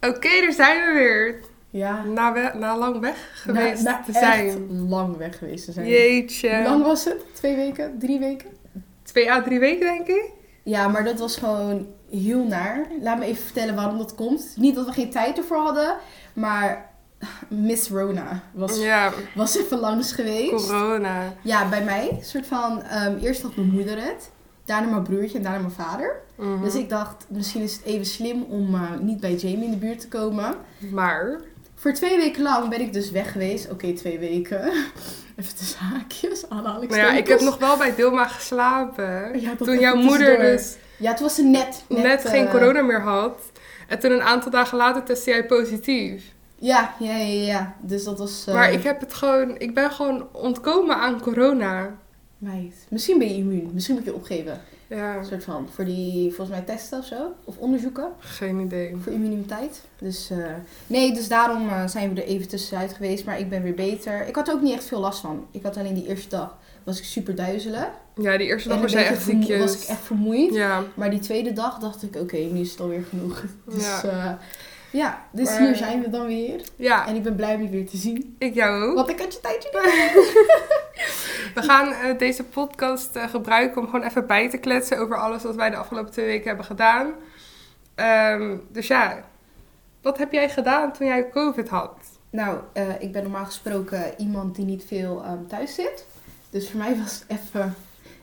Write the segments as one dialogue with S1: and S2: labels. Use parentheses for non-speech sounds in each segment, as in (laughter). S1: Oké, daar zijn we weer.
S2: Ja,
S1: Na, we- na lang weg geweest
S2: na, na
S1: te
S2: echt
S1: zijn.
S2: lang weg geweest te zijn.
S1: Jeetje.
S2: Hoe lang was het? Twee weken? Drie weken?
S1: Twee à drie weken, denk ik.
S2: Ja, maar dat was gewoon heel naar. Laat me even vertellen waarom dat komt. Niet dat we geen tijd ervoor hadden, maar Miss Rona was,
S1: Ja,
S2: was even langs geweest.
S1: corona.
S2: Ja, bij mij. Soort van, ehm, eerst had mijn moeder het, daarna mijn broertje en daarna mijn vader.
S1: Mhm.
S2: Dus ik dacht, misschien is het even slim om eh, niet bij Jamie in de buurt te komen.
S1: Maar,
S2: Voor twee weken lang ben ik dus weg geweest. Oké, twee weken. (laughs) Even tussen haakjes,
S1: maar
S2: aanhalingstekens.
S1: ja, ik heb nog wel bij Dilma geslapen.
S2: Ja, dat
S1: toen
S2: dus- even
S1: jouw moeder
S2: tussendoor.
S1: dus
S2: Ja, het was net...
S1: net,
S2: eh,
S1: geen corona meer had. En toen een aantal dagen later testte jij positief.
S2: Ja, ja, ja, ja. Dus dat was... eh,
S1: Maar ik heb het gewoon, ik ben gewoon ontkomen aan corona.
S2: Meid, misschien ben je immuun. Misschien moet je opgeven.
S1: Ja,
S2: Een soort van, voor die, volgens mij testen of zo. Of onderzoeken.
S1: geen idee.
S2: Voor immuniteit. Dus eh, nee, dus daarom eh, zijn we er even tussenuit geweest. Maar ik ben weer beter. Ik had er ook niet echt veel last van. Ik had alleen die eerste dag was ik super duizelig.
S1: Ja, die eerste dag
S2: En
S1: was
S2: een
S1: jij
S2: beetje
S1: echt
S2: vermoe-
S1: ziekjes.
S2: was ik echt vermoeid.
S1: Ja.
S2: Maar die tweede dag dacht ik, oké, nu is het alweer genoeg. (laughs) Dus
S1: Ja.
S2: ja, ja dus
S1: Maar- Ah.
S2: hier zijn we dan weer.
S1: ja,
S2: En ik ben blij om je weer te zien.
S1: ik jou ook.
S2: Want ik had je tijdje niet.
S1: We gaan eh, deze podcast eh, gebruiken om gewoon even bij te kletsen over alles wat wij de afgelopen twee weken hebben gedaan. Ehm, dus ja, wat heb jij gedaan toen jij COVID had?
S2: (laughs) Nou, eh, ik ben normaal gesproken iemand die niet veel ehm, thuis zit. Dus voor mij was het even...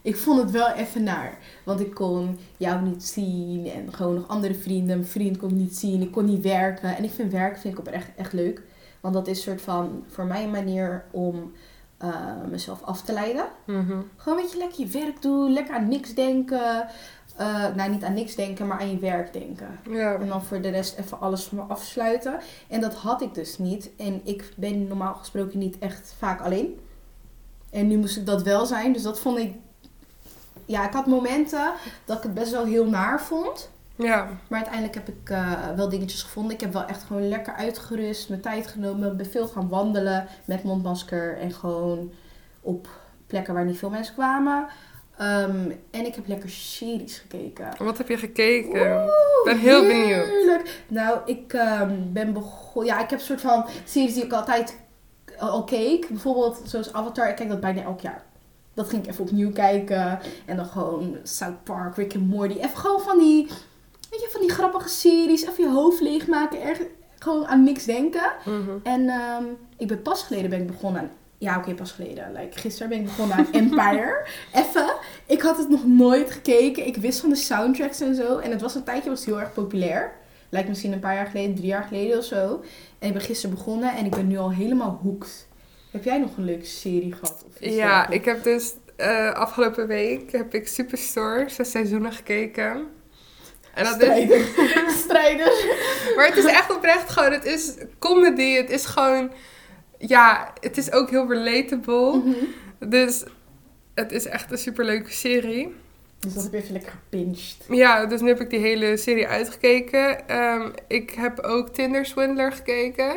S2: Ik vond het wel even naar. Want ik kon jou niet zien en gewoon nog andere vrienden. Mijn vriend kon ik niet zien. Ik kon niet werken. En ik vind werk vind ik oprecht echt leuk. Want dat is een soort van voor mij een manier om eh, mezelf af te leiden. Gewoon een beetje lekker je werk doen, lekker aan niks denken. Eh, nou, niet aan niks denken, maar aan je werk denken.
S1: Ja.
S2: En dan voor de rest even alles van me afsluiten. En dat had ik dus niet. En ik ben normaal gesproken niet echt vaak alleen. En nu moest ik dat wel zijn. Dus dat vond ik. Ja, ik had momenten dat ik het best wel heel naar vond.
S1: ja,
S2: Maar uiteindelijk heb ik eh, wel dingetjes gevonden. Ik heb wel echt gewoon lekker uitgerust, mijn tijd genomen. Ben veel gaan wandelen met mondmasker en gewoon op plekken waar niet veel mensen kwamen. Ehm, en ik heb lekker series gekeken.
S1: En wat heb je gekeken?
S2: Oeh,
S1: ben heel benieuwd.
S2: heerlijk. Nou, ik ehm, ben begonnen. Ja, ik heb een soort van series die ik altijd eh, al keek. Bijvoorbeeld zoals Avatar. Ik kijk dat bijna elk jaar. Dat ging ik even opnieuw kijken. En dan gewoon South Park, Rick and Morty. Even gewoon van die, weet je, van die grappige series. Even je hoofd leegmaken. Erg, gewoon aan niks denken.
S1: Mhm.
S2: En ehm, ik ben pas geleden ben ik begonnen aan... Ja, oké, pas geleden. Like, gisteren ben ik begonnen aan Empire. Even. Ik had het nog nooit gekeken. Ik wist van de soundtracks en zo. En het was een tijdje was het heel erg populair. Lijkt misschien een paar jaar geleden, drie jaar geleden of zo. En ik ben gisteren begonnen en ik ben nu al helemaal hooked. Heb jij nog een leuke serie gehad? Of iets
S1: Ja,
S2: dergelijks?
S1: ik heb dus eh, afgelopen week heb ik Superstore zes seizoenen gekeken. En dat is, (laughs)
S2: Strijders. Strijders.
S1: Maar het is echt oprecht gewoon, het is comedy, het is gewoon, ja, het is ook heel relatable.
S2: Mhm.
S1: Dus het is echt een superleuke serie.
S2: (laughs) Dus dat heb je even lekker gepincht.
S1: Ja, dus nu heb ik die hele serie uitgekeken. Ehm, ik heb ook Tinder Swindler gekeken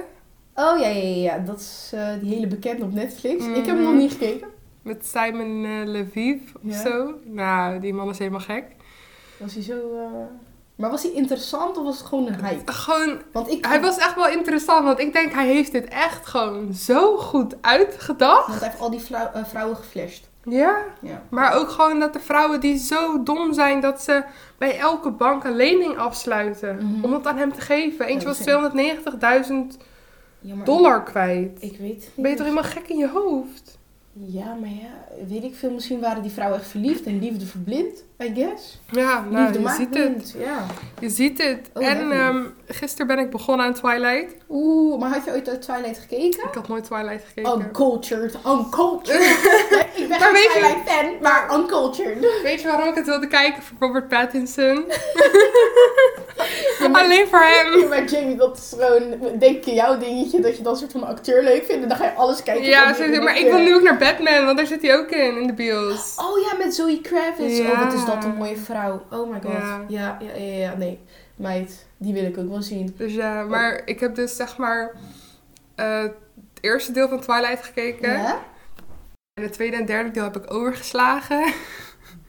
S2: Oh ja, ja, ja. ja. Dat is eh, die hele bekende op Netflix. Ik heb hem
S1: Mhm.
S2: nog niet gekeken.
S1: met Simon eh, Lviv of
S2: Ja.
S1: zo. Nou, die man is helemaal gek.
S2: Was hij zo. eh, Maar was hij interessant of was het gewoon een hype?
S1: Gewoon,
S2: Want ik.
S1: hij was echt wel interessant, want ik denk hij heeft dit echt gewoon zo goed uitgedacht.
S2: Want hij heeft al die vrou- eh, vrouwen geflasht.
S1: Ja,
S2: Ja.
S1: maar ook gewoon dat de vrouwen die zo dom zijn dat ze bij elke bank een lening afsluiten
S2: Mhm.
S1: om het aan hem te geven.
S2: Ja, dat
S1: Eentje was 290.000
S2: Ja, maar-
S1: dollar kwijt.
S2: Ik weet het
S1: Ben je
S2: niet.
S1: toch helemaal gek in je hoofd?
S2: Ja, maar ja, weet ik veel. Misschien waren die vrouwen echt verliefd en liefde verblind, I guess.
S1: Ja, nou,
S2: liefde
S1: je
S2: maakt
S1: ziet het.
S2: blind, Ja.
S1: Je ziet het.
S2: Oh,
S1: en
S2: lekker.
S1: ehm, gisteren ben ik begonnen aan Twilight.
S2: Oeh, maar had je ooit uit Twilight gekeken?
S1: Ik had nooit Twilight gekeken.
S2: Uncultured,
S1: (laughs)
S2: uncultured. ik ben
S1: Maar
S2: geen
S1: weet je-
S2: Twilight fan, maar
S1: (laughs)
S2: uncultured.
S1: Weet je waarom ik het wilde kijken? Voor Robert (laughs) Pattinson.
S2: Ja, maar-
S1: Alleen voor hem.
S2: Maar Jamie, dat is gewoon, denk je, jouw dingetje, dat je dat soort van acteur leuk vindt. En dan ga je alles kijken.
S1: Ja,
S2: van die
S1: sowieso. maar ik wil
S2: acteur.
S1: nu ook naar Batman, want daar zit hij ook in, in de bios.
S2: Oh ja, met Zoe Kravitz.
S1: Ja.
S2: Oh, wat is dat een mooie vrouw. Oh my god.
S1: Ja.
S2: Ja. Ja, ja, ja, ja. nee. Meid, die wil ik ook wel zien.
S1: Dus ja, maar ik heb dus zeg maar eh, het eerste deel van Twilight gekeken.
S2: Ja?
S1: En het tweede en derde deel heb ik overgeslagen. (laughs)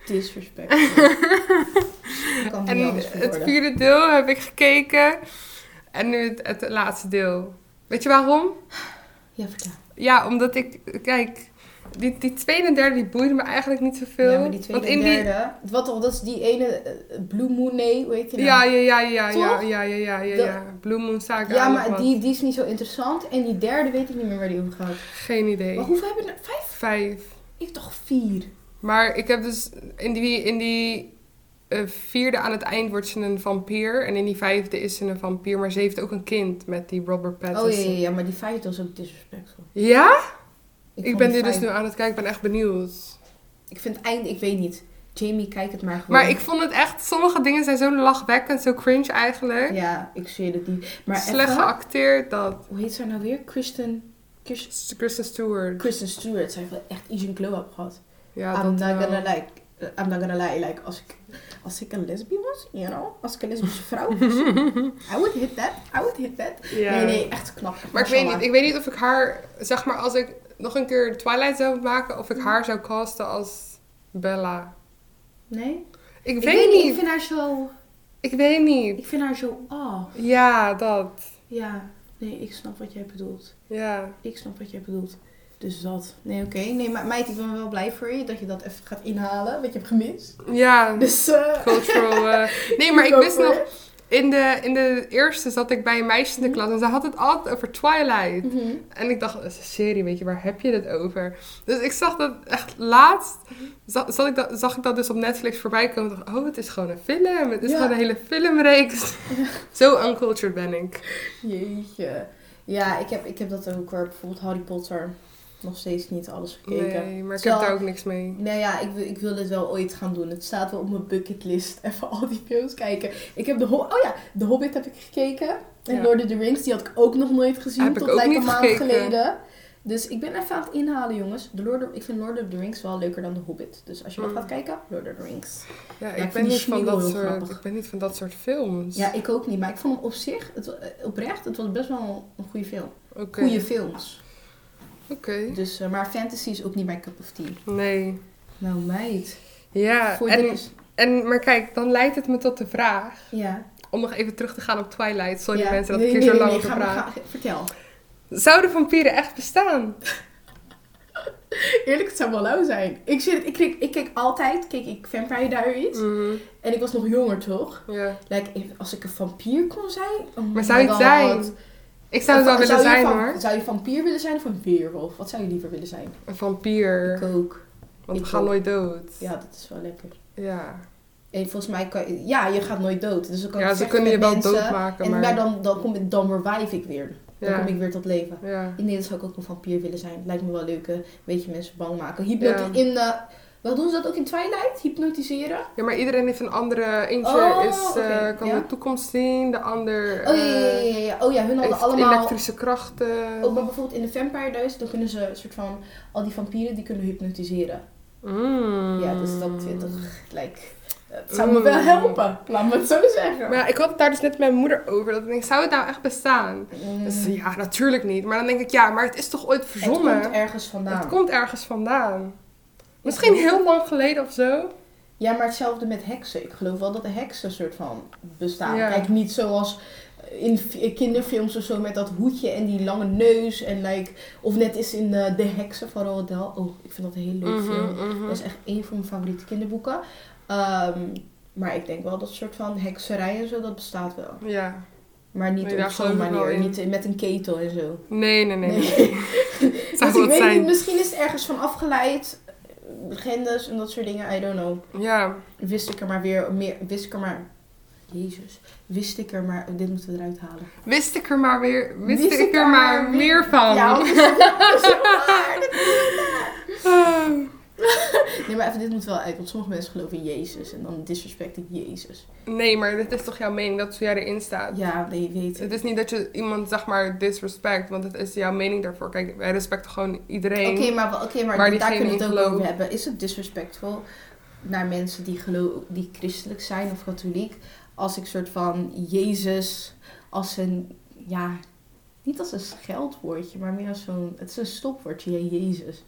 S2: Disrespect. Ik kan het niet
S1: En
S2: anders
S1: het
S2: verwoorden.
S1: vierde deel heb ik gekeken. En nu het, het laatste deel. Weet je waarom?
S2: Ja, vertel.
S1: Ja, omdat ik, kijk, die, die tweede en derde die boeide me eigenlijk niet zoveel.
S2: Ja, maar die tweede
S1: Want in
S2: en derde. Wat toch, dat is die ene eh, Blue Moon, nee, hoe heet die
S1: die.
S2: nou?
S1: Ja, ja, ja, ja, ja,
S2: Toch?
S1: ja, ja, ja, ja,
S2: Dat-
S1: ja. Blue Moon Saga.
S2: Ja,
S1: nog
S2: maar
S1: wat.
S2: die, die is niet zo interessant. En die derde weet ik niet meer waar die over gaat.
S1: Geen idee.
S2: Maar hoeveel hebben we er? Vijf?
S1: Vijf.
S2: Ik heb toch vier?
S1: Maar ik heb dus, in die, in die eh, vierde aan het eind wordt ze een vampier. En in die vijfde is ze een vampier, maar ze heeft ook een kind met die Robert Pattinson.
S2: Oh ja, ja, ja, maar die vijfde was ook disrespectful.
S1: Ja? Ik,
S2: vond
S1: ben
S2: die
S1: nu dus
S2: vijf-
S1: nu aan het kijken, ik ben echt benieuwd.
S2: Ik vind het eind, ik weet niet. Jamie, kijk het maar gewoon.
S1: Maar ik vond het echt, sommige dingen zijn zo lachwekkend, zo cringe eigenlijk.
S2: Ja, ik zweer het niet. Maar
S1: Slecht
S2: even-
S1: geacteerd dat.
S2: Hoe heet zij nou weer? Kristen... Kirsten,
S1: Kristen Stewart.
S2: Kristen Stewart. Zij heeft wel echt iets een glow-up gehad.
S1: Ja,
S2: I'm,
S1: dat eh,
S2: not
S1: wel.
S2: gonna like, eh, I'm not gonna lie. Like, als ik, als ik een lesbisch was, you know? Als ik een lesbische
S1: (laughs)
S2: vrouw was, I would hit that. I would hit that.
S1: Ja.
S2: Nee, nee, echt knap.
S1: Maar ik weet, niet, ik weet niet of ik haar, zeg maar, als ik nog een keer Twilight zou maken, of ik
S2: Mhm.
S1: haar zou casten als Bella.
S2: Nee?
S1: Ik,
S2: Ik
S1: weet, niet.
S2: Ik vind haar zo...
S1: Ik weet niet.
S2: Ik vind haar zo af.
S1: Ja, dat.
S2: Ja. Nee, ik snap wat jij bedoelt.
S1: Ja.
S2: Ik snap wat jij bedoelt. Dus dat. Nee, oké. Nee, maar meid, ik ben wel blij voor je dat je dat even gaat inhalen. Wat je hebt gemist.
S1: Ja.
S2: Dus, eh (laughs)
S1: Cultural. eh. Nee, maar ik
S2: go
S1: wist
S2: for
S1: nog,
S2: it.
S1: in de, in de eerste zat ik bij een meisje in de klas en ze had het altijd over Twilight.
S2: Mhm.
S1: En ik dacht, dat is een serie, weet je, waar heb je dit over? Dus ik zag dat echt laatst, za- zat ik dat, zag ik dat dus op Netflix voorbij komen. Ik dacht, oh, het is gewoon een film. Het is
S2: Ja.
S1: gewoon een hele
S2: (laughs)
S1: filmreeks. Zo uncultured ben ik.
S2: Jeetje. Ja, ik heb, ik heb dat ook hoor. Bijvoorbeeld Harry Potter. Nog steeds niet alles gekeken.
S1: Nee, maar ik heb
S2: Terwijl-
S1: daar ook niks mee.
S2: Nou ja, ik, wil- ik wil het wel ooit gaan doen. Het staat wel op mijn bucketlist. (laughs) Even al die films kijken. Ik heb de Hob- Oh ja, The Hobbit heb ik gekeken. En
S1: Ja.
S2: Lord of the Rings, die had ik ook nog nooit gezien.
S1: Heb ik
S2: tot
S1: ook
S2: like
S1: niet
S2: een maand
S1: gekeken.
S2: geleden. Dus ik ben even aan het inhalen, jongens. De Lord of- ik vind Lord of the Rings wel leuker dan The Hobbit. Dus als je wel
S1: Mm.
S2: gaat kijken, Lord of the Rings.
S1: Ja,
S2: ik
S1: ik, ben
S2: vind die
S1: niet van
S2: schmiegel
S1: dat
S2: heel
S1: soort,
S2: grappig.
S1: ik ben niet van dat soort films.
S2: Ja, ik ook niet. Maar ik vond hem op zich, het, wa- eh, oprecht, het was best wel een goede film.
S1: Oké.
S2: Goede films.
S1: Oké.
S2: Dus, eh, maar fantasy is ook niet mijn cup of tea.
S1: Nee.
S2: Nou meid.
S1: Ja,
S2: Voor
S1: en,
S2: deze-
S1: en, maar kijk, dan leidt het me tot de vraag,
S2: Ja.
S1: om nog even terug te gaan op Twilight. Sorry
S2: ja.
S1: mensen dat
S2: Nee,
S1: ik hier
S2: nee,
S1: zo lang
S2: nee, nee,
S1: over
S2: ga maar-
S1: praat.
S2: ga- Vertel.
S1: Zouden vampieren echt
S2: (laughs)
S1: bestaan?
S2: Eerlijk, het zou wel lauw zijn. Ik, zit, ik, keek, ik keek altijd, keek ik Vampire Diaries.
S1: Mhm,
S2: En ik was nog jonger, toch?
S1: Ja.
S2: Like, als ik een vampier kon zijn... oh
S1: Maar zou je
S2: my
S1: het
S2: god.
S1: zijn? Ik zou het wel willen
S2: je
S1: zijn
S2: vam-
S1: hoor.
S2: Zou je vampier willen zijn of een weerwolf? Wat zou je liever willen zijn?
S1: Een vampier.
S2: Ik ook.
S1: Want we
S2: ik
S1: gaan
S2: ook.
S1: nooit dood.
S2: Ja, dat is wel lekker.
S1: Ja.
S2: En volgens mij kan je... Ja, je gaat nooit dood. Dus dan kan
S1: Ja,
S2: ik
S1: ze
S2: vechten
S1: kunnen je
S2: met
S1: wel
S2: mensen.
S1: doodmaken,
S2: En
S1: maar...
S2: maar dan, dan, kom ik, dan revive ik weer. Dan
S1: Ja.
S2: kom ik weer tot leven.
S1: Ja.
S2: Nee, dat zou ik ook een vampier willen zijn. Lijkt me wel leuk. hè. Weet je, mensen bang maken. Hypnoti
S1: Ja.
S2: in... eh, wel doen ze dat ook in Twilight? Hypnotiseren?
S1: ja, maar iedereen heeft een andere... Eentje
S2: Oh,
S1: is, eh,
S2: oké,
S1: kan
S2: ja.
S1: de toekomst zien, de ander
S2: Oh ja, ja,
S1: eh,
S2: ja, ja. Oh ja, hun hadden
S1: heeft
S2: allemaal...
S1: elektrische krachten.
S2: Ook maar bijvoorbeeld in de Vampire Diaries, dan kunnen ze een soort van... Al die vampieren, die kunnen hypnotiseren.
S1: Mm.
S2: Ja, dus dat vind ik... Like, het zou me
S1: Mm.
S2: wel helpen. Laat me het zo zeggen.
S1: Maar ja, ik had het daar dus net met mijn moeder over. Dat ik denk, zou het nou echt bestaan?
S2: Mm,
S1: Dus ze, ja, natuurlijk niet. Maar dan denk ik, ja, maar het is toch ooit
S2: het
S1: verzonnen?
S2: komt ergens vandaan.
S1: Het komt ergens vandaan. Misschien heel lang geleden of zo.
S2: Ja, maar hetzelfde met heksen. Ik geloof wel dat de heksen soort van bestaan.
S1: Ja.
S2: Kijk, niet zoals in f- kinderfilms of zo met dat hoedje en die lange neus. En like, of net is in eh, De Heksen van Roald Dahl. Oh, ik vind dat een heel
S1: Mhm.
S2: leuk film. Dat is echt een van mijn favoriete kinderboeken. Ehm, maar ik denk wel dat soort van hekserij en zo, dat bestaat wel.
S1: Ja.
S2: Maar niet
S1: Nee,
S2: op
S1: daar
S2: zo'n
S1: geloof ik wel
S2: manier.
S1: in.
S2: Niet met een ketel en zo.
S1: Nee, nee, nee. nee.
S2: Dus
S1: (laughs) Zou
S2: ik
S1: wat
S2: weet
S1: zijn.
S2: niet, misschien is het ergens van afgeleid. Legendes en dat soort dingen, I don't know.
S1: Ja.
S2: Wist ik er maar weer meer, wist ik er maar... Jezus. Wist ik er maar... Dit moeten we eruit halen.
S1: Wist ik er maar weer. Wist, ik er maar,
S2: weer-
S1: meer van.
S2: Ja, want het is- het is zo waar. Dit is zo waar.
S1: Ah. (laughs)
S2: Nee, maar even, dit moet wel uit. Want sommige mensen geloven in Jezus. En dan disrespect ik Jezus.
S1: Nee, maar dit is toch jouw mening dat jij erin staat?
S2: Ja, nee, weet ik.
S1: Het is niet dat je iemand, zeg maar, disrespect, want het is jouw mening daarvoor. Kijk, wij respecten gewoon iedereen.
S2: Oké, maar, wel- oké,
S1: Maar
S2: maar, daar
S1: diegene
S2: kunnen we het
S1: in
S2: ook over
S1: geloof.
S2: hebben. Is het disrespectvol naar mensen die, gelo- die christelijk zijn of katholiek? Als ik soort van Jezus als een, ja, niet als een scheldwoordje, maar meer als zo'n, het is een stopwoordje, ja, Jezus.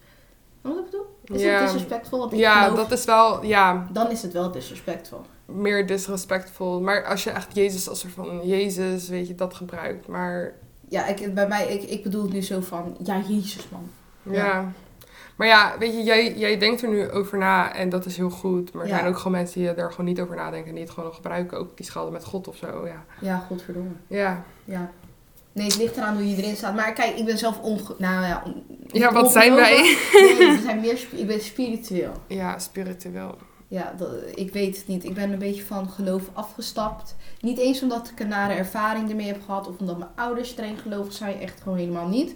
S2: Snap je Wat ik bedoel? Is
S1: Ja.
S2: het disrespectvol? Want ik
S1: ja,
S2: geloof-
S1: dat is wel, ja.
S2: Dan is het wel disrespectvol.
S1: meer disrespectvol. Maar als je echt Jezus als er van Jezus, weet je, dat gebruikt. Maar
S2: Ja, ik, bij mij, ik, ik bedoel het nu zo van, ja, Jezus man.
S1: ja.
S2: Ja.
S1: Maar ja, weet je, jij, jij denkt er nu over na en dat is heel goed. Maar er
S2: Ja.
S1: zijn ook gewoon mensen die er gewoon niet over nadenken en die het gewoon nog gebruiken. Ook die schelden met God of zo, ja.
S2: Ja, godverdomme.
S1: Ja,
S2: Ja. Nee, het ligt eraan hoe je erin staat. Maar kijk, ik ben zelf onge... Nou ja... on-
S1: ja
S2: niet
S1: wat zijn wij?
S2: ongelovig.
S1: (laughs)
S2: Nee, we zijn meer... sp- Ik ben spiritueel.
S1: Ja, spiritueel.
S2: Ja, dat- ik weet het niet. Ik ben een beetje van geloof afgestapt. Niet eens omdat ik een nare ervaring ermee heb gehad... of omdat mijn ouders streng gelovig zijn. Echt gewoon helemaal niet.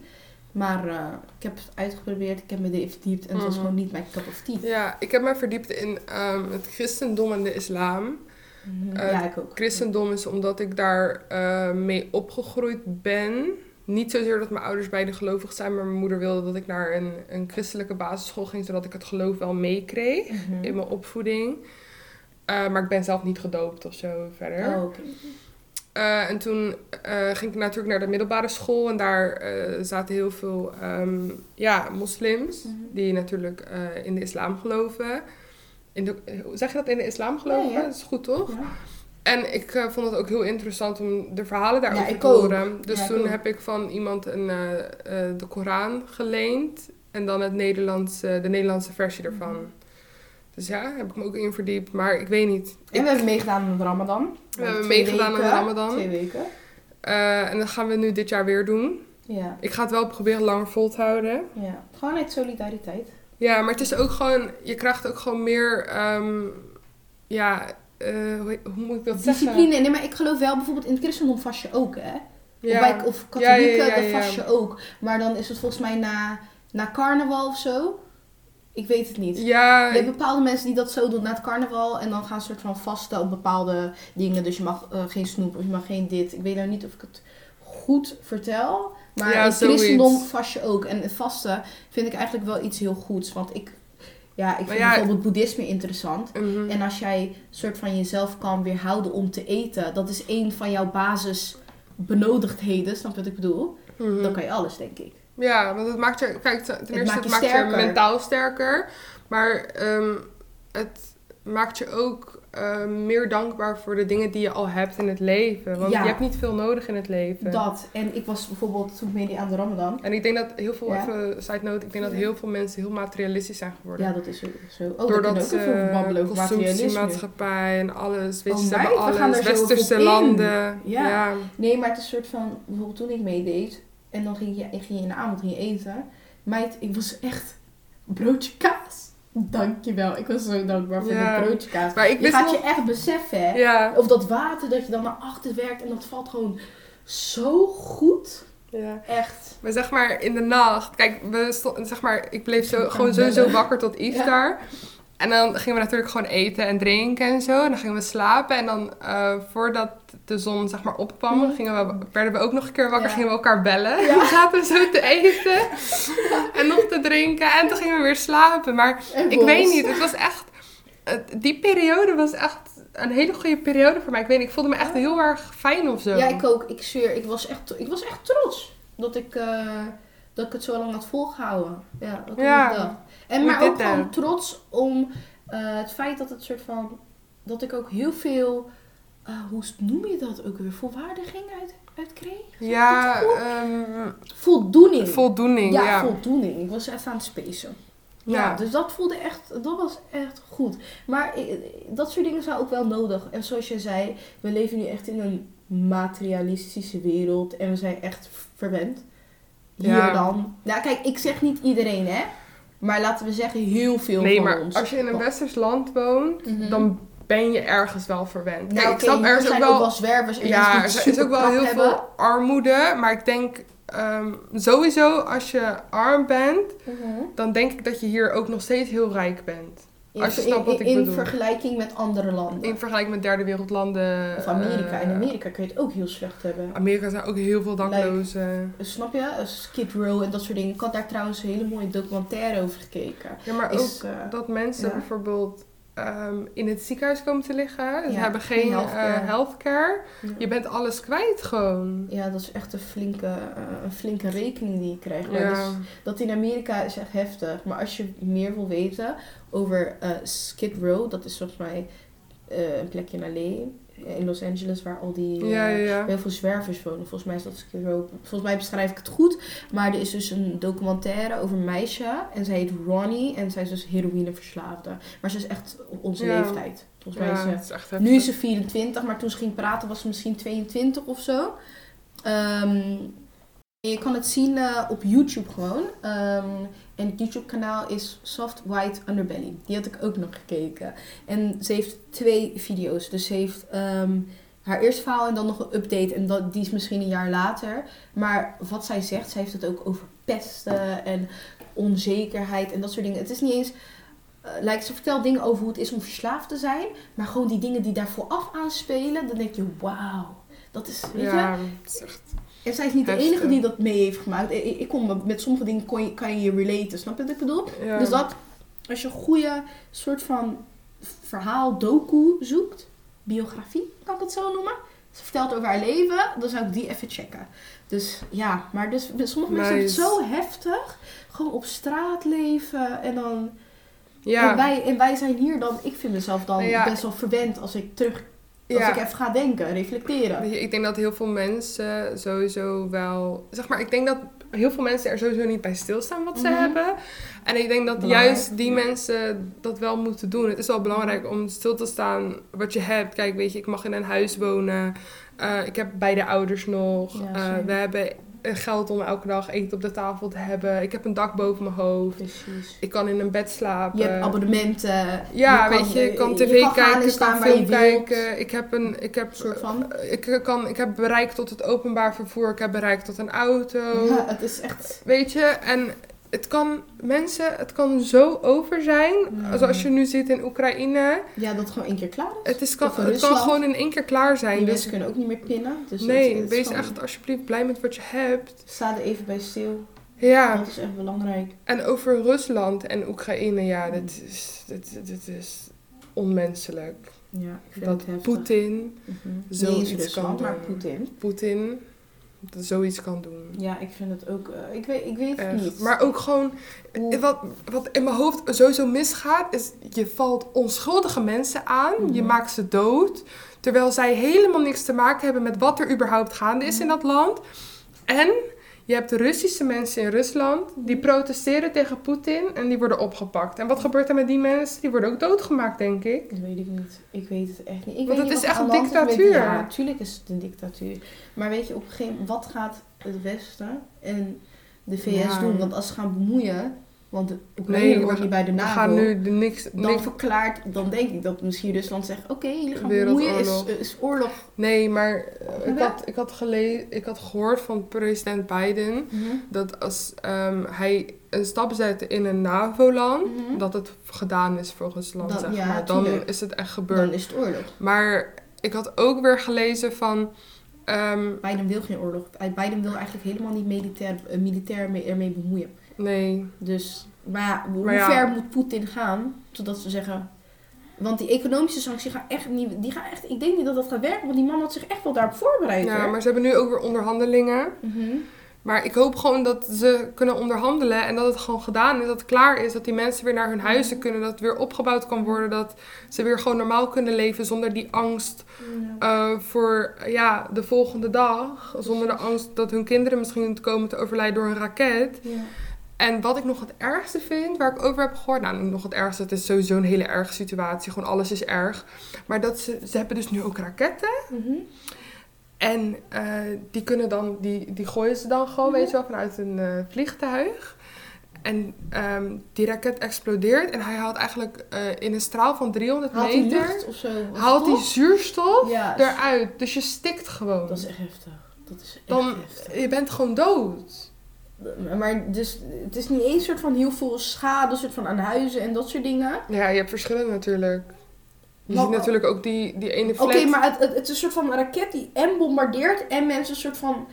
S2: Maar eh, ik heb het uitgeprobeerd. Ik heb me erin verdiept. En het was
S1: Mhm.
S2: gewoon niet mijn cup of tea.
S1: Ja, ik heb mij verdiept in ehm, het christendom en de islam. Eh,
S2: ja, ik ook.
S1: Christendom is omdat ik daar eh, mee opgegroeid ben. Niet zozeer dat mijn ouders beide gelovig zijn, maar mijn moeder wilde dat ik naar een, een christelijke basisschool ging, zodat ik het geloof wel meekreeg
S2: Mhm.
S1: in mijn opvoeding. Eh, maar ik ben zelf niet gedoopt of zo verder.
S2: Oh, oké.
S1: Eh, en toen eh, ging ik natuurlijk naar de middelbare school en daar eh, zaten heel veel ehm, ja, moslims
S2: Mhm.
S1: die natuurlijk eh, in de islam geloven. In de, eh, zeg je dat in de islam geloven?
S2: Ja, ja.
S1: Dat is goed toch?
S2: Ja.
S1: En ik eh, vond het ook heel interessant om de verhalen daarover
S2: Ja, ik
S1: te
S2: ook.
S1: horen. Dus
S2: Ja, ik
S1: toen
S2: ook.
S1: heb ik van iemand een, eh, eh, de Koran geleend en dan het Nederlandse, de Nederlandse versie ervan.
S2: Mhm.
S1: Dus ja, heb ik me ook in verdiept, maar ik weet niet.
S2: En we hebben meegedaan aan de Ramadan.
S1: We hebben
S2: Twee
S1: meegedaan aan de
S2: weken.
S1: Ramadan.
S2: Twee weken.
S1: Eh, en dat gaan we nu dit jaar weer doen.
S2: Ja.
S1: Ik ga het wel proberen langer vol te houden.
S2: Ja, gewoon uit solidariteit.
S1: Ja, maar het is ook gewoon, je krijgt ook gewoon meer, ehm, ja, eh, hoe, hoe moet ik dat zeggen?
S2: Discipline. Nee, maar ik geloof wel bijvoorbeeld in het christendom vast je ook, hè? Of,
S1: Ja.
S2: bij, of katholieken,
S1: Ja, ja, ja, ja,
S2: dan vast
S1: ja.
S2: je ook. Maar dan is het volgens mij na, na carnaval of zo. Ik weet het niet.
S1: Ja,
S2: Er zijn bepaalde mensen die dat zo doen na het carnaval. En dan gaan ze soort van vasten op bepaalde dingen. Dus je mag eh, geen snoep of je mag geen dit. Ik weet nou niet of ik het goed vertel. Maar
S1: Ja,
S2: in het
S1: zoiets.
S2: christendom vast je ook. En het vasten vind ik eigenlijk wel iets heel goeds. Want ik, ja, ik vind
S1: ja,
S2: bijvoorbeeld boeddhisme interessant.
S1: mhm.
S2: En als jij soort van jezelf kan weerhouden om te eten, dat is één van jouw basisbenodigdheden, snap je wat ik bedoel?
S1: Mhm.
S2: Dan kan je alles, denk ik.
S1: Ja, want het maakt je, kijk, ten eerste, het
S2: maakt
S1: maakt,
S2: je
S1: je,
S2: sterker.
S1: mentaal sterker. Maar ehm, het maakt je ook ehm, meer dankbaar voor de dingen die je al hebt in het leven. Want
S2: Ja.
S1: je hebt niet veel nodig in het leven.
S2: Dat. En ik was bijvoorbeeld toen meedeed aan de Ramadan.
S1: En ik denk dat heel veel,
S2: Ja.
S1: even side note, ik denk dat
S2: Ja.
S1: heel veel mensen heel materialistisch zijn geworden.
S2: Ja, dat is ook zo. Oh, Doordat,
S1: Doordat
S2: kunnen we ook even
S1: eh,
S2: babbelen over materialisme.
S1: consumptiemaatschappij en alles, weet
S2: Oh
S1: je, ze hebben
S2: meid, we gaan
S1: alles,
S2: daar zo op
S1: westerse
S2: in.
S1: landen.
S2: Ja.
S1: ja.
S2: Nee, maar het is soort van, bijvoorbeeld toen ik meedeed, en dan ging je, ging je in de avond ging je eten. Meid, ik was echt broodje kaas. Dankjewel. Ik was zo dankbaar voor
S1: Ja.
S2: dat broodje kaas.
S1: Maar ik
S2: Je
S1: wist
S2: gaat
S1: nog-
S2: je echt beseffen, hè?
S1: Ja.
S2: Of dat water dat je dan naar achter werkt en dat valt gewoon zo goed.
S1: ja.
S2: Echt.
S1: Maar zeg maar in de nacht, kijk, we sto- zeg maar, ik bleef zo,
S2: Gaan
S1: gewoon
S2: bellen.
S1: sowieso wakker tot iftar. En dan gingen we natuurlijk gewoon eten en drinken en zo. En dan gingen we slapen. En dan eh, voordat de zon zeg maar opkwam,
S2: Mhm.
S1: gingen we, werden we ook nog een keer wakker.
S2: Ja.
S1: Gingen we elkaar bellen. (laughs)
S2: Ja.
S1: We zaten zo te eten en nog te drinken. En toen gingen we weer slapen. Maar
S2: En
S1: ik
S2: bos.
S1: weet niet, het was echt. het- Die periode was echt een hele goede periode voor mij. Ik weet niet, ik voelde me echt heel erg fijn of zo.
S2: Ja, ik ook. Ik zweer, ik was echt, ik was echt trots dat ik, eh, dat ik het zo lang had volgehouden. Ja, dat
S1: Ja.
S2: ik dacht. En
S1: We
S2: maar
S1: did
S2: ook gewoon
S1: that.
S2: trots om eh, het feit dat het soort van, dat ik ook heel veel, eh, hoe noem je dat ook weer, volwaardiging uit, uit kreeg?
S1: Ja,
S2: Goed.
S1: ehm,
S2: Voldoening.
S1: voldoening.
S2: ja,
S1: ja.
S2: voldoening. Ik was even aan het spacen. Ja.
S1: Ja.
S2: dus dat voelde echt, dat was echt goed. Maar eh, dat soort dingen zijn ook wel nodig. En zoals je zei, we leven nu echt in een materialistische wereld en we zijn echt verwend. Hier
S1: Ja.
S2: dan. Nou, kijk, ik zeg niet iedereen, hè? Maar laten we zeggen, heel veel
S1: nee,
S2: van
S1: maar
S2: ons. Oh.
S1: als je in een westers land woont,
S2: Mhm.
S1: dan ben je ergens wel verwend.
S2: Nou,
S1: Kijk,
S2: oké,
S1: ik snap,
S2: hier
S1: er is ook
S2: zijn
S1: wel,
S2: ook wel zwervers en mensen
S1: ja,
S2: die
S1: er is-
S2: het
S1: is ook wel heel
S2: superkrap hebben.
S1: veel armoede, maar ik denk ehm, sowieso als je arm bent,
S2: Mhm.
S1: dan denk ik dat je hier ook nog steeds heel rijk bent.
S2: In,
S1: Als je
S2: ver-
S1: snapt wat
S2: in-
S1: ik
S2: in
S1: bedoel.
S2: vergelijking met andere landen.
S1: In vergelijking met derde wereldlanden.
S2: of Amerika.
S1: eh,
S2: in Amerika kun je het ook heel slecht hebben.
S1: Amerika zijn ook heel veel daklozen.
S2: Snap je? Eh, Skid Row en dat soort dingen. Ik had daar trouwens een hele mooie documentaire over gekeken.
S1: Ja, maar ook
S2: Is, eh,
S1: dat mensen
S2: ja.
S1: bijvoorbeeld ehm, in het ziekenhuis komen te liggen. Ze
S2: Ja,
S1: hebben geen
S2: geen healthcare.
S1: healthcare. healthcare.
S2: ja.
S1: Je bent alles kwijt gewoon.
S2: Ja, dat is echt een flinke, eh, een flinke rekening die je krijgt. Maar
S1: Ja.
S2: dus, dat in Amerika is echt heftig. Maar als je meer wil weten over eh, Skid Row, dat is volgens mij eh, een plekje in LA, eh, in Los Angeles, waar al die eh,
S1: Ja, ja, ja.
S2: heel veel zwervers wonen. Volgens mij is dat Europa. Volgens mij beschrijf ik het goed. Maar er is dus een documentaire over een meisje. En zij heet Ronnie. En zij is dus heroïneverslaafde. Maar ze is echt op onze
S1: Ja.
S2: leeftijd. Volgens mij
S1: Ja,
S2: is ze
S1: het is echt heftig.
S2: nu is ze 24, maar toen ze ging praten was ze misschien 22 of zo. Ehm, je kan het zien eh, op YouTube gewoon. Ehm, en het YouTube kanaal is Soft White Underbelly. Die had ik ook nog gekeken. En ze heeft twee video's. Dus ze heeft ehm, haar eerste verhaal en dan nog een update. En dat, die is misschien een jaar later. Maar wat zij zegt, zij heeft het ook over pesten en onzekerheid en dat soort dingen. Het is niet eens... eh, like, ze vertelt dingen over hoe het is om verslaafd te zijn. Maar gewoon die dingen die daar vooraf aan spelen, dan denk je, wauw. Dat is, weet je,
S1: ja, het is echt...
S2: en zij is niet de
S1: Heftig.
S2: enige die dat mee heeft gemaakt. Ik, ik kon, me- met sommige dingen kon je, kan je je relaten, snap je wat ik bedoel?
S1: Ja.
S2: Dus dat, als je een goede soort van verhaal, docu zoekt, biografie, kan ik het zo noemen. Ze vertelt over haar leven, dan zou ik die even checken. Dus ja, maar dus, sommige mensen hebben het
S1: Nice.
S2: zo heftig. Gewoon op straat leven en dan... En,
S1: Ja,
S2: wij, en wij zijn hier dan, ik vind mezelf dan
S1: Nou ja.
S2: best wel verwend als ik terug, als
S1: Ja.
S2: ik even ga denken, reflecteren.
S1: Weet je, ik denk dat heel veel mensen sowieso wel... Zeg maar, ik denk dat heel veel mensen er sowieso niet bij stilstaan wat ze
S2: Mhm.
S1: hebben. En ik denk dat
S2: Belangrijk.
S1: juist die mensen dat wel moeten doen. Het is wel belangrijk om stil te staan wat je hebt. Kijk, weet je, ik mag in een huis wonen. Eh, ik heb beide ouders nog.
S2: Ja,
S1: Eh,
S2: zeker.
S1: we hebben eh, geld om elke dag eten op de tafel te hebben. Ik heb een dak boven mijn hoofd.
S2: Precies.
S1: Ik kan in een bed slapen.
S2: Je hebt abonnementen.
S1: Eh, Ja,
S2: kan-
S1: weet je, ik kan
S2: je
S1: tv
S2: gaan en
S1: kijken, ik
S2: staan
S1: kan
S2: waar
S1: film
S2: je wilt.
S1: kijken. Ik heb, een, ik, heb,
S2: Een soort van.
S1: eh, ik, kan, ik heb bereik tot het openbaar vervoer, ik heb bereik tot een auto.
S2: Ja, (laughs) het is echt.
S1: Weet je, en het kan, mensen, het kan zo over zijn.
S2: Mm.
S1: Zoals je nu ziet in Oekraïne.
S2: Ja, dat het gewoon één keer klaar is.
S1: Het, is, kan,
S2: Of in
S1: het kan
S2: Rusland.
S1: gewoon in één keer klaar
S2: Die
S1: zijn. Dus
S2: mensen kunnen ook niet meer pinnen. Dus het-
S1: nee,
S2: het is
S1: wees
S2: gewoon-
S1: echt alsjeblieft blij met wat je hebt.
S2: Sta er even bij stil.
S1: Ja,
S2: Dat is echt belangrijk.
S1: en over Rusland en Oekraïne, ja, dat is, dit, dit is onmenselijk.
S2: Ja, ik vind het
S1: Dat
S2: heftig.
S1: Poetin
S2: Mhm.
S1: zoiets
S2: Niet eens Rusland,
S1: kan
S2: maar
S1: doen.
S2: Poetin.
S1: Poetin dat zoiets kan doen.
S2: Ja, ik vind het ook... eh, ik, weet, ik weet het
S1: Echt.
S2: niet.
S1: Maar ook gewoon,
S2: Hoe-
S1: wat, wat in mijn hoofd sowieso misgaat, is je valt onschuldige mensen aan, je
S2: Mhm.
S1: maakt ze dood, terwijl zij helemaal niks te maken hebben met wat er überhaupt gaande is in
S2: Mhm.
S1: dat land. En je hebt de Russische mensen in Rusland die
S2: Mhm.
S1: protesteren tegen Poetin en die worden opgepakt. En wat gebeurt er met die mensen? Die worden ook doodgemaakt, denk ik.
S2: Dat weet ik niet. Ik weet het echt niet. Ik
S1: Want
S2: weet
S1: het
S2: niet
S1: is
S2: wat er
S1: echt
S2: aan
S1: een
S2: de hand is met-
S1: dictatuur.
S2: Ja, natuurlijk is het een dictatuur. Maar weet je, op een gegeven moment, wat gaat het Westen en de VS
S1: Ja.
S2: doen? Want als ze gaan bemoeien, want de Oekraïne
S1: Nee, we
S2: hoort
S1: ga-
S2: niet bij de
S1: We
S2: NAVO.
S1: gaan nu de niks,
S2: dan
S1: niks...
S2: verklaart, dan denk ik dat misschien Rusland zegt, oké, jullie gaan bemoeien, is,
S1: Wereldoorlog.
S2: is oorlog.
S1: Nee, maar eh, ik
S2: Ja.
S1: had, ik, had gele- ik had gehoord van president Biden... dat als ehm, hij een stap zet in een NAVO-land,
S2: Mhm.
S1: dat het gedaan is voor Rusland,
S2: Dan-
S1: zeg
S2: ja,
S1: maar. Dan
S2: tuurlijk.
S1: is het echt gebeurd.
S2: Dan is het oorlog.
S1: Maar ik had ook weer gelezen van... ehm,
S2: Biden wil geen oorlog. Biden wil eigenlijk helemaal niet militair, eh, militair mee, ermee bemoeien.
S1: nee,
S2: Dus, maar ja, hoe
S1: Maar ja.
S2: ver moet Poetin gaan, zodat ze zeggen... Want die economische sancties gaan echt niet... Die gaan echt, ik denk niet dat dat gaat werken, want die man had zich echt wel daarop voorbereid.
S1: ja,
S2: hoor.
S1: maar ze hebben nu ook weer onderhandelingen.
S2: Mhm.
S1: Maar ik hoop gewoon dat ze kunnen onderhandelen en dat het gewoon gedaan is, dat het klaar is, dat die mensen weer naar hun huizen
S2: Mhm.
S1: kunnen, dat het weer opgebouwd kan worden, dat ze weer gewoon normaal kunnen leven zonder die angst
S2: Ja.
S1: Eh, voor ja, de volgende dag. Zonder de angst dat hun kinderen misschien komen te overlijden door een raket.
S2: Ja.
S1: En wat ik nog het ergste vind, waar ik over heb gehoord. Nou, nog het ergste, het is sowieso een hele erge situatie. Gewoon alles is erg. Maar dat ze, ze hebben dus nu ook raketten.
S2: Mhm.
S1: En eh, die, kunnen dan, die, die gooien ze dan gewoon, weet je wel, vanuit een eh, vliegtuig. En ehm, die raket explodeert. En hij haalt eigenlijk eh, in een straal van 300
S2: Haalt hij
S1: meter...
S2: lucht of zo? of
S1: haalt hij
S2: stof?
S1: zuurstof
S2: Ja,
S1: eruit. Dus je stikt gewoon.
S2: dat is echt heftig. Dat is echt
S1: Dan-
S2: heftig.
S1: Je bent gewoon dood.
S2: Maar dus, het is niet eens soort van heel veel schade soort van aan huizen en dat soort dingen.
S1: Ja, je hebt verschillen natuurlijk. Je
S2: Maar-
S1: ziet natuurlijk ook die, die ene
S2: Oké,
S1: flat.
S2: maar het, het, het is een soort van raket die en bombardeert en mensen een soort van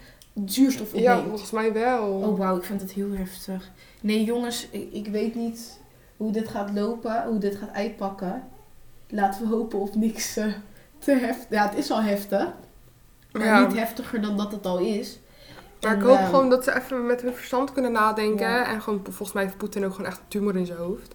S2: zuurstof opneemt.
S1: Ja, volgens mij wel.
S2: Oh wauw, ik vind het heel heftig. Nee jongens, ik, ik weet niet hoe dit gaat lopen, hoe dit gaat uitpakken. Laten we hopen op niks eh, te heftig. Ja, het is al heftig. Maar
S1: ja.
S2: niet heftiger dan dat het al is.
S1: Maar
S2: En,
S1: ik hoop
S2: ehm,
S1: gewoon dat ze even met hun verstand kunnen nadenken.
S2: Ja.
S1: En gewoon, volgens mij heeft Poetin ook gewoon echt een tumor in zijn hoofd.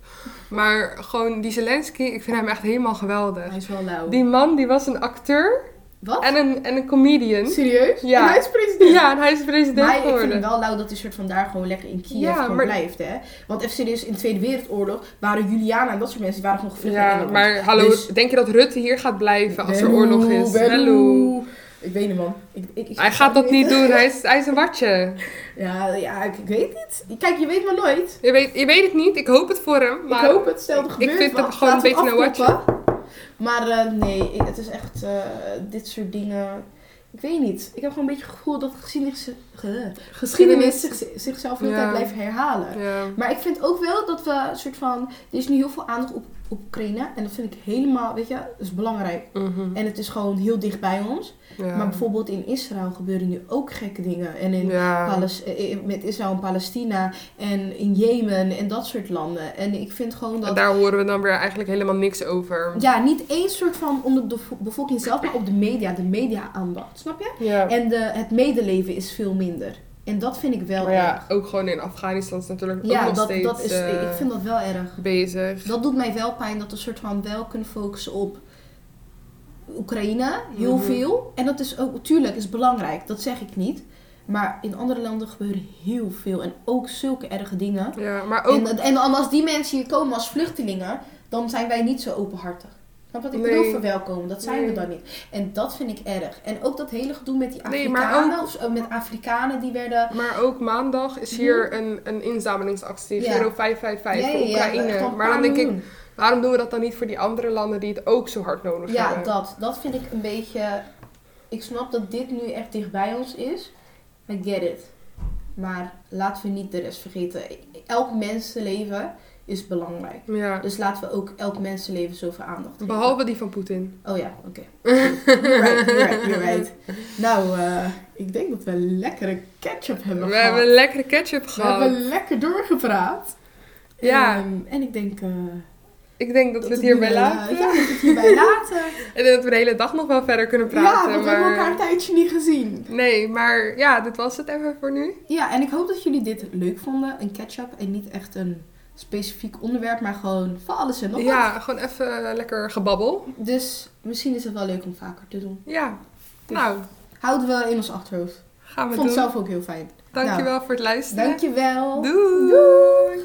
S1: Maar gewoon die Zelensky, ik vind hem echt helemaal geweldig.
S2: Hij is wel lauw.
S1: Die man, die was een acteur
S2: Wat?
S1: en een, en een comedian.
S2: Serieus?
S1: Ja.
S2: En (laughs) hij is president.
S1: Ja, en hij is president
S2: Maar ik vind
S1: geworden.
S2: het wel lauw dat hij soort van daar gewoon lekker in Kiev
S1: Ja,
S2: gewoon
S1: maar-
S2: blijft, hè. Want FC dus in de Tweede Wereldoorlog waren Juliana en dat soort mensen, die waren gewoon gevlucht naar
S1: Ja,
S2: Engeland.
S1: maar hallo,
S2: Dus-
S1: denk je dat Rutte hier gaat blijven als er
S2: Bello,
S1: oorlog is?
S2: bello.
S1: Hallo.
S2: Ik weet niet, man. Ik, ik, ik-
S1: Hij gaat dat niet doen, hij is, hij is een watje.
S2: Ja, ja ik, ik weet niet. Kijk, je weet maar nooit.
S1: Je weet, je weet het niet, ik hoop het voor hem. Maar
S2: ik hoop het, stel er
S1: ik
S2: gebeurt
S1: vind
S2: wat,
S1: hem gewoon een
S2: laten we het
S1: beetje een
S2: afkloppen. Maar eh, nee, ik- het is echt eh, dit soort dingen... Ik weet niet. Ik heb gewoon een beetje het gevoel dat geschiedenis, ge- geschiedenis zich, zichzelf de hele
S1: Ja.
S2: tijd blijft herhalen.
S1: Ja.
S2: Maar ik vind ook wel dat we een soort van. Er is nu heel veel aandacht op, op Oekraïne. En dat vind ik helemaal, weet je, dat is belangrijk.
S1: Mhm.
S2: En het is gewoon heel dicht bij ons.
S1: Ja.
S2: Maar bijvoorbeeld in Israël gebeuren nu ook gekke dingen. En in
S1: Ja.
S2: Palis- eh, eh, met Israël en Palestina. En in Jemen en dat soort landen. En ik vind gewoon
S1: En
S2: dat.
S1: daar horen we dan weer eigenlijk helemaal niks over.
S2: Ja, niet eens soort van onder de bevo- bevolking zelf, maar op de media. De media-aandacht, snap je?
S1: Ja.
S2: En de, het medeleven is veel minder. En dat vind ik wel
S1: Maar ja,
S2: erg.
S1: ook gewoon in Afghanistan is natuurlijk ook
S2: Ja,
S1: nog
S2: dat,
S1: steeds
S2: dat is,
S1: eh,
S2: ik vind dat wel erg.
S1: bezig.
S2: Dus Dat doet mij wel pijn dat we soort van wel kunnen focussen op Oekraïne, heel
S1: Mhm.
S2: veel. En dat is ook, tuurlijk, is belangrijk, dat zeg ik niet. Maar in andere landen gebeuren heel veel en ook zulke erge dingen.
S1: Ja, maar ook...
S2: En, en als die mensen hier komen als vluchtelingen, dan zijn wij niet zo openhartig. Snap je wat ik
S1: Nee.
S2: bedoel? Verwelkomen, dat zijn
S1: Nee.
S2: we dan niet. En dat vind ik erg. En ook dat hele gedoe met die
S1: Nee, maar
S2: Afrikanen, of zo, met Afrikanen die werden...
S1: Maar ook maandag is hier een, een inzamelingsactie,
S2: Mhm. Ja.
S1: euro 555 voor
S2: echt
S1: Oekraïne.
S2: al een
S1: maar dan
S2: paar
S1: denk ik,
S2: miljoen.
S1: waarom doen we dat dan niet voor die andere landen die het ook zo hard nodig
S2: Ja,
S1: hebben?
S2: dat. Dat vind ik een beetje. Ik snap dat dit nu echt dichtbij ons is. I get it. Maar laten we niet de rest vergeten. Elk mensenleven is belangrijk.
S1: Ja,
S2: Dus laten we ook elk mensenleven zoveel aandacht geven.
S1: behalve die van Poetin.
S2: Oh ja, oké. You're right, you're right, you're
S1: (laughs)
S2: right. Nou, eh, ik denk dat we lekkere ketchup
S1: We
S2: hebben gehad.
S1: hebben een lekkere ketchup
S2: we
S1: gehad.
S2: hebben lekker doorgepraat.
S1: Ja.
S2: Ehm, en ik denk... eh,
S1: Ik denk dat, we het
S2: nu
S1: hierbij
S2: wel, eh,
S1: laten. (laughs)
S2: Ja, dat we het hierbij laten.
S1: En dat we de hele dag nog wel verder kunnen praten.
S2: ja, want we
S1: maar...
S2: hebben elkaar een tijdje niet gezien.
S1: Nee, maar ja, dit was het even voor nu.
S2: Ja, en ik hoop dat jullie dit leuk vonden. Een catch-up en niet echt een specifiek onderwerp, maar gewoon van alles en nog wat.
S1: Ja, gewoon even lekker gebabbel.
S2: Dus misschien is het wel leuk om vaker te doen.
S1: Ja,
S2: Dus
S1: nou,
S2: Houden we in ons achterhoofd.
S1: gaan
S2: Ik
S1: we
S2: vond het
S1: doen.
S2: zelf ook heel fijn.
S1: Dankjewel voor het luisteren.
S2: Dankjewel.
S1: Doei.
S2: Doei.